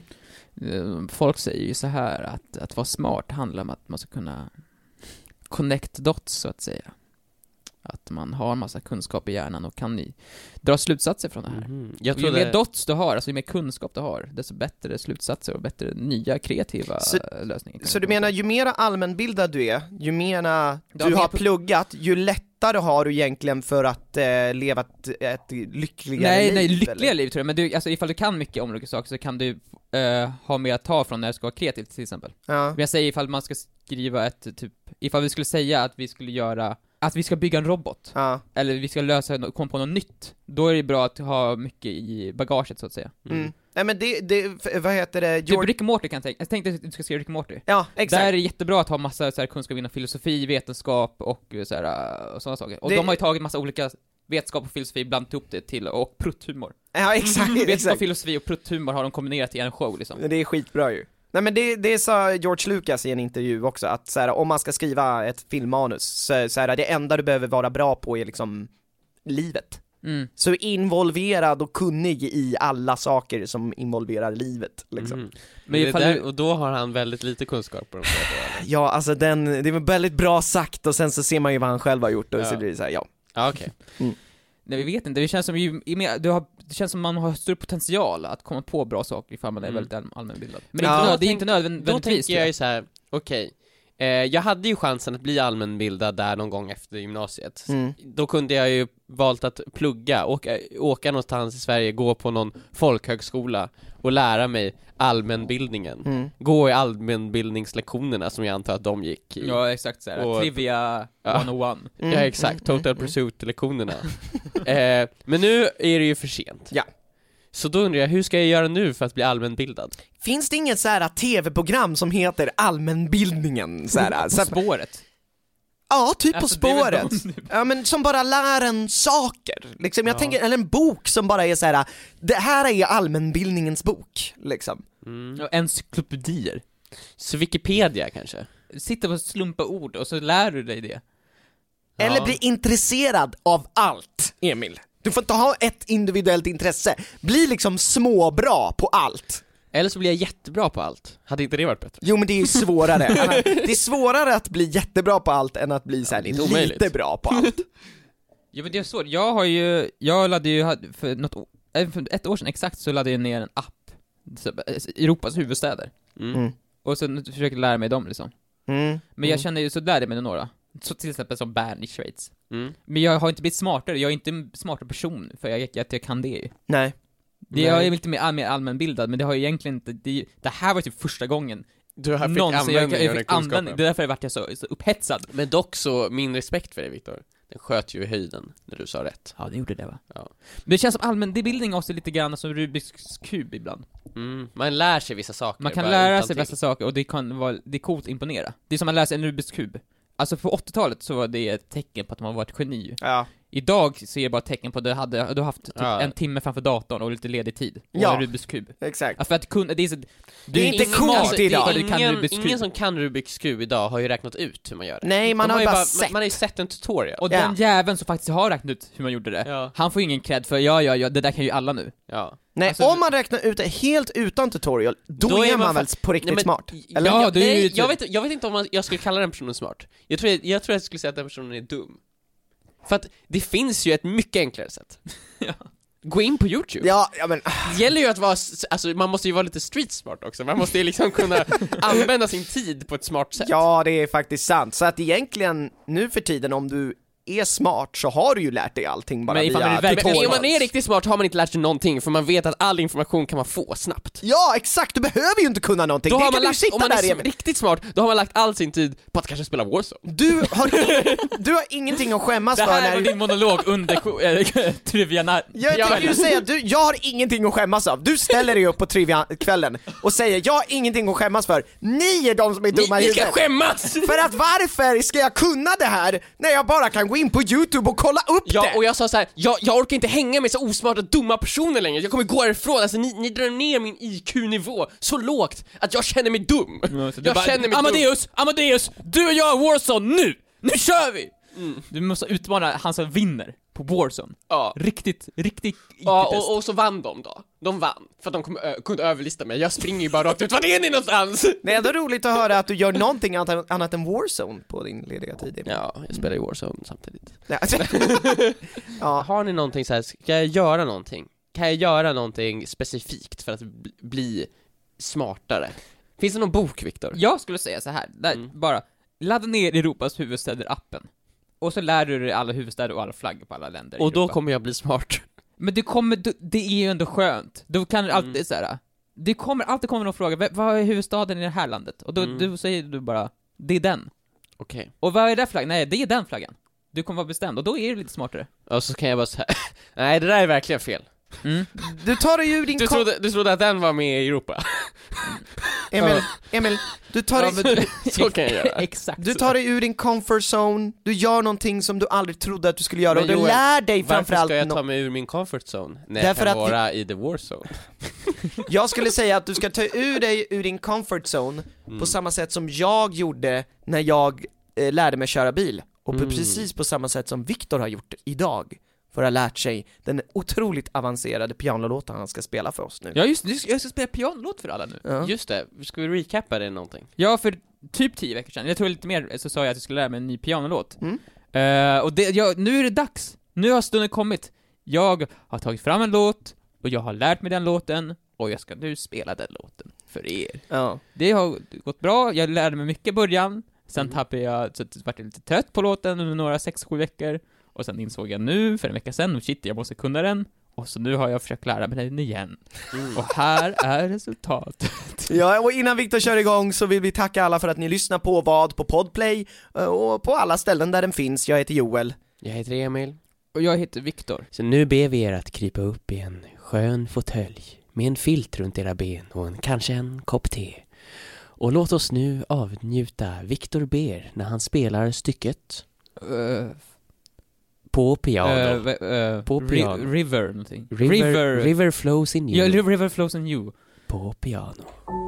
C: Eh, Folk säger ju så här att, att vara smart handlar om att man ska kunna connect dots, så att säga. Att man har en massa kunskap i hjärnan och kan ni dra slutsatser från det här.
B: Mm. Jag
C: Och ju
B: tror
C: mer
B: det...
C: dots du har, alltså ju mer kunskap du har, desto bättre slutsatser och bättre nya kreativa
D: Så-
C: eh, lösningar. kan
D: Så du
C: komma
D: menar, ju mera allmänbildad du är, ju mera
C: Du
D: du,
C: har mer
D: har
C: pu-
D: pluggat, ju lättare har du egentligen för att eh, leva ett, ett
C: på.
D: lyckligare
C: Nej,
D: liv?
C: nej, lyckliga
D: eller?
C: liv tror jag, men du, alltså ifall du kan mycket om olika saker så kan du eh, ha mer att ta från när du ska vara kreativ till exempel.
D: Ja.
C: Men jag säger ifall man ska skriva ett, typ, ifall vi skulle säga att vi skulle göra, att vi ska bygga en robot.
D: Ja.
C: eller vi ska lösa, nå- komma på något nytt, då är det bra att ha mycket i bagaget så att säga.
D: Mm. Nej men det, det, f- vad heter det,
C: Typ
D: George...
C: Rick and Morty kan jag tänka, jag tänkte att du ska skriva Rick and Morty.
D: Ja,
C: Där är
D: exakt.
C: det jättebra att ha massa så här, kunskap inom filosofi, vetenskap och eh, så här, eh, och sådana saker. Och
D: Det-
C: de har ju tagit massa olika vetenskap och filosofi, blandat ihop det till, och prutthumor.
D: Ja, exakt,
C: Vetenskap,
D: exakt.
C: filosofi och prutthumor har de kombinerat i en show liksom.
D: Det är skitbra ju. Nej men det, det sa George Lucas i en intervju också, att så här, om man ska skriva ett filmmanus, så, så här, det enda du behöver vara bra på är liksom livet.
C: Mm.
D: Så involverad och kunnig i alla saker som involverar livet liksom.
B: Mhm.
C: Men
B: Men det
C: ifall
B: där,
C: du-
B: Och då har han väldigt lite kunskap på de frågorna.
D: Ja, alltså den, det var väldigt bra sagt och sen så ser man ju vad han själv har gjort och så
B: Ja.
D: blir det så här, ja.
B: Ja okej.
C: Nej vi vet inte, det känns som ju, i mer- du har, det känns som man har större potential att komma på bra saker ifall man är
B: Mm.
C: väldigt all- allmänbildad. Men
D: Ja.
C: inte,
B: Då
C: nöd- det är inte
B: tänk- Då
C: nödvändigtvis
B: tänker jag ju så här, okej. Eh, jag hade ju chansen att bli allmänbildad där någon gång efter gymnasiet.
D: Mm.
B: Då kunde jag ju valt att plugga, åka, åka någonstans i Sverige, gå på någon folkhögskola och lära mig allmänbildningen.
D: Mm.
B: Gå i allmänbildningslektionerna som jag antar att de gick i.
C: Ja, exakt såhär,
B: Och-
C: trivia
B: Ja.
C: 101.
D: Mm,
B: ja exakt,
D: mm,
B: Total
D: mm,
B: Pursuit-lektionerna. eh, men nu är det ju för sent.
D: Ja.
B: Så då undrar jag, hur ska jag göra nu för att bli allmänbildad?
D: Finns det inget så här tv-program som heter allmänbildningen? Så här, så
C: På
D: här,
C: spåret.
D: ja, typ På
C: Alltså, det är väl
D: spåret.
C: de-
D: Ja men som bara lär en saker, liksom. Jag
C: Ja.
D: tänker, eller en bok som bara är så här. det här är allmänbildningens bok, liksom.
B: Mm.
C: Ja, Encyklopedier.
B: Så Wikipedia kanske?
C: Sitta på slumpa ord och så lär du dig det.
D: Eller
B: Ja.
D: bli intresserad av allt, Emil. Du får inte ha ett individuellt intresse, bli liksom småbra på allt.
B: Eller så blir jag jättebra på allt. Hade inte det varit bättre?
D: Jo men det är ju svårare, Anna, det är svårare att bli jättebra på allt än att bli så här,
B: det är inte
D: lite
B: omöjligt.
D: bra på allt.
C: Ja men det är svårt, jag har ju, jag laddade ju, hade- för något, å- äh, för ett år sedan exakt så laddade jag ner en app. Så, eh, Europas huvudstäder.
B: Mm.
D: Mm.
C: Och sen försökte jag lära mig dem liksom.
D: Mm.
C: Men jag känner ju, så lärde jag mig några. Så till exempel som Bern i Schweiz.
B: Mm.
C: Men jag har inte blivit smartare, jag är inte en smartare person för jag, jag, att jag kan det ju.
D: Nej.
C: Det, jag
B: Nej.
C: är lite mer, all- mer allmänbildad, men det har ju egentligen inte, det, är ju- det här var typ första gången
B: Du har fick
C: någonsin jag,
B: användning
C: jag
B: av den
C: fick användning, det
B: kunskapen.
C: är därför jag vart jag så, så upphetsad.
B: Men dock så, min respekt för dig Viktor, den sköt ju i höjden när du sa rätt.
C: Ja, det gjorde det va?
B: Ja.
C: Men det känns som allmänbildning också är lite grann som Rubiks kub ibland.
B: Mm. Man lär sig vissa saker.
C: Man kan
B: bara
C: lära
B: utan
C: sig
B: till.
C: bästa saker och det kan vara, det är coolt att imponera. Det är som att lära sig en Rubiks kub. Alltså på 80-talet så var det ett tecken på att man var ett geni.
D: Ja.
C: Idag ser jag bara tecken på att du hade, du har haft typ
B: Ja.
C: en timme framför datorn och lite ledig tid. Och
D: Ja.
C: en Rubiks kub.
D: Exakt.
C: Alltså för att kunna, det är så,
D: Det är inte
C: ingen-
D: coolt
C: alltså, det är
D: idag.
C: bara du kan
B: Ingen,
C: Rubiks kub.
B: ingen som kan Rubiks kub idag har ju räknat ut hur man gör det.
D: Nej, man
B: De
D: har
B: ju
D: ju bara, sett.
B: Man, man har ju sett en tutorial.
C: Och
D: Ja.
C: den jäveln som faktiskt har räknat ut hur man gjorde det,
B: ja.
C: han får ju ingen cred för ja, ja, ja, det där kan ju alla nu.
B: ja.
D: Nej,
C: alltså-
D: om man räknar ut det helt utan tutorial, då, är man, väl
B: fast-
D: på riktigt
B: Nej, men-
D: smart? Eller?
C: Ja,
B: jag,
C: det är ju- typ-
B: nej, jag, vet, jag vet inte om man, jag skulle kalla den personen smart. Jag tror jag, jag tror jag skulle säga att den personen är dum. För att det finns ju ett mycket enklare sätt.
C: Ja.
B: Gå in på YouTube.
D: Ja, ja men,
B: Det gäller ju att vara, s- alltså man måste ju vara lite street smart också, man måste ju liksom kunna använda sin tid på ett smart sätt.
D: ja det är faktiskt sant. Så att egentligen, nu för tiden om du är smart så har du ju lärt dig allting bara
C: Men ifall man
D: via
C: är verkligen-
B: Men om
D: tutorials.
B: man är riktigt smart har man inte lärt sig någonting, för man vet att all information kan man få snabbt.
D: Ja, exakt! Du behöver ju inte kunna någonting,
B: Då
D: det
B: har
D: kan
B: man
D: du ju
B: lagt,
D: sitta
B: om man är
D: där
B: s-
D: Emil.
B: riktigt smart, då har man lagt all sin tid på att kanske spela Warzone.
D: Du har, du har ingenting att skämmas
C: Det
D: för
C: här
D: när
C: var
D: du...
C: din monolog under eh, trivia
D: Jag tänkte ju
B: Jag-
D: säga, du, jag har ingenting att skämmas av. Du ställer dig upp på triviakvällen och säger jag har ingenting att skämmas för. Ni är de som är
B: Ni,
D: dumma i
B: ni ska
D: huvudet.
B: skämmas!
D: För att varför ska jag kunna det här när jag bara kan gå in på youtube och kolla upp
B: Ja,
D: det!
B: och jag sa så här, jag, jag orkar inte hänga med så osmarta, dumma personer längre, jag kommer gå härifrån, alltså ni, ni drar ner min IQ-nivå så lågt att jag känner mig dum.
C: Mm, så du
B: Jag
C: bara,
B: känner mig dum.
C: Amadeus, Amadeus! Du och jag Warzone nu! Nu kör vi! Du måste utmana han som vinner på Warzone.
B: Ja.
C: Riktigt, riktigt
B: Ja,
C: IT-test.
B: och, och så vann de då. De vann, för att de kom, ö, kunde överlista mig. Jag springer ju bara rakt ut, var är ni någonstans?
D: Det är ändå roligt att höra att du gör någonting annat, annat än Warzone på din lediga tid. Ja.
B: Ja, jag spelar ju Warzone samtidigt.
D: alltså- ja.
B: Har ni någonting så här, ska jag göra någonting? Kan jag göra någonting specifikt för att bli- bli smartare? Finns det någon bok, Viktor?
C: Jag skulle säga så här, där,
B: Mm.
C: bara, ladda ner Europas huvudstäder-appen. Och så lär du dig alla huvudstäder och alla flaggor på alla länder i
B: Och då
C: Europa.
B: kommer jag bli smart.
C: Men det kommer, du- det är ju ändå skönt. Då kan du alltid
B: Mm.
C: så här. det kommer, alltid kommer någon fråga, "Vem- vad är huvudstaden i det här landet? Och då
B: Mm.
C: du säger du bara, det är den.
B: Okej.
C: Och vad är den flaggan? Nej, det är den flaggan. Du kommer vara bestämd, och då är du lite smartare.
B: Och så kan jag bara säga, nej det där är verkligen fel.
C: Mm.
D: Du tar dig ur din...
B: Du
D: kom-
B: trodde, du trodde att den var med i Europa?
D: Emil, Emil, du tar dig...
B: Så kan jag göra.
C: Exakt
D: Du
C: så.
D: tar dig ur din comfort zone, du gör någonting som du aldrig trodde att du skulle göra
B: Men
D: och du
B: Joel,
D: lär dig
B: Varför
D: framförallt
B: ska jag ta
D: nå-
B: mig ur min comfort zone när
D: Därför
B: jag
D: att
B: kan
D: vi-
B: vara i the war zone?
D: Jag skulle säga att du ska ta ur dig ur din comfort zone
B: Mm.
D: på samma sätt som jag gjorde när jag eh, lärde mig köra bil och på
B: Mm.
D: precis på samma sätt som Viktor har gjort idag för att ha lärt sig den otroligt avancerade pianolåten han ska spela för oss nu.
C: Ja just det, jag ska- jag ska spela pianolåt för alla nu.
D: Ja.
B: Just det, ska vi recappa det någonting?
C: Ja, för typ tio veckor sedan, jag tror lite mer, så sa jag att jag skulle lära mig en ny pianolåt.
D: Mm.
C: Eh, och det, ja, nu är det dags! Nu har stunden kommit. Jag har tagit fram en låt, och jag har lärt mig den låten, och jag ska nu spela den låten för er.
D: Ja.
C: Det har gått bra, jag lärde mig mycket i början, sen
B: Mm.
C: tappade jag, så att- vart jag lite trött på låten under några sex sju veckor, och sen insåg jag nu, för en vecka sen, shit, jag måste kunna den, och så nu har jag försökt lära mig den igen. Och här är resultatet.
D: Ja, och innan Viktor kör igång så vill vi tacka alla för att ni lyssnar på vad på Podplay eh, och på alla ställen där den finns. Jag heter Joel.
B: Jag heter Emil.
C: Och jag heter Viktor.
B: Så nu ber vi er att krypa upp i en skön fåtölj med en filt runt era ben och en, kanske en kopp te. Och låt oss nu avnjuta Viktor Ber när han spelar stycket
C: Eh,
B: på piano.
C: Eh, v- eh,
B: På
C: ri-
B: piano.
C: River någonting.
B: river, river flows in you.
C: Ja, River flows in you.
B: på piano.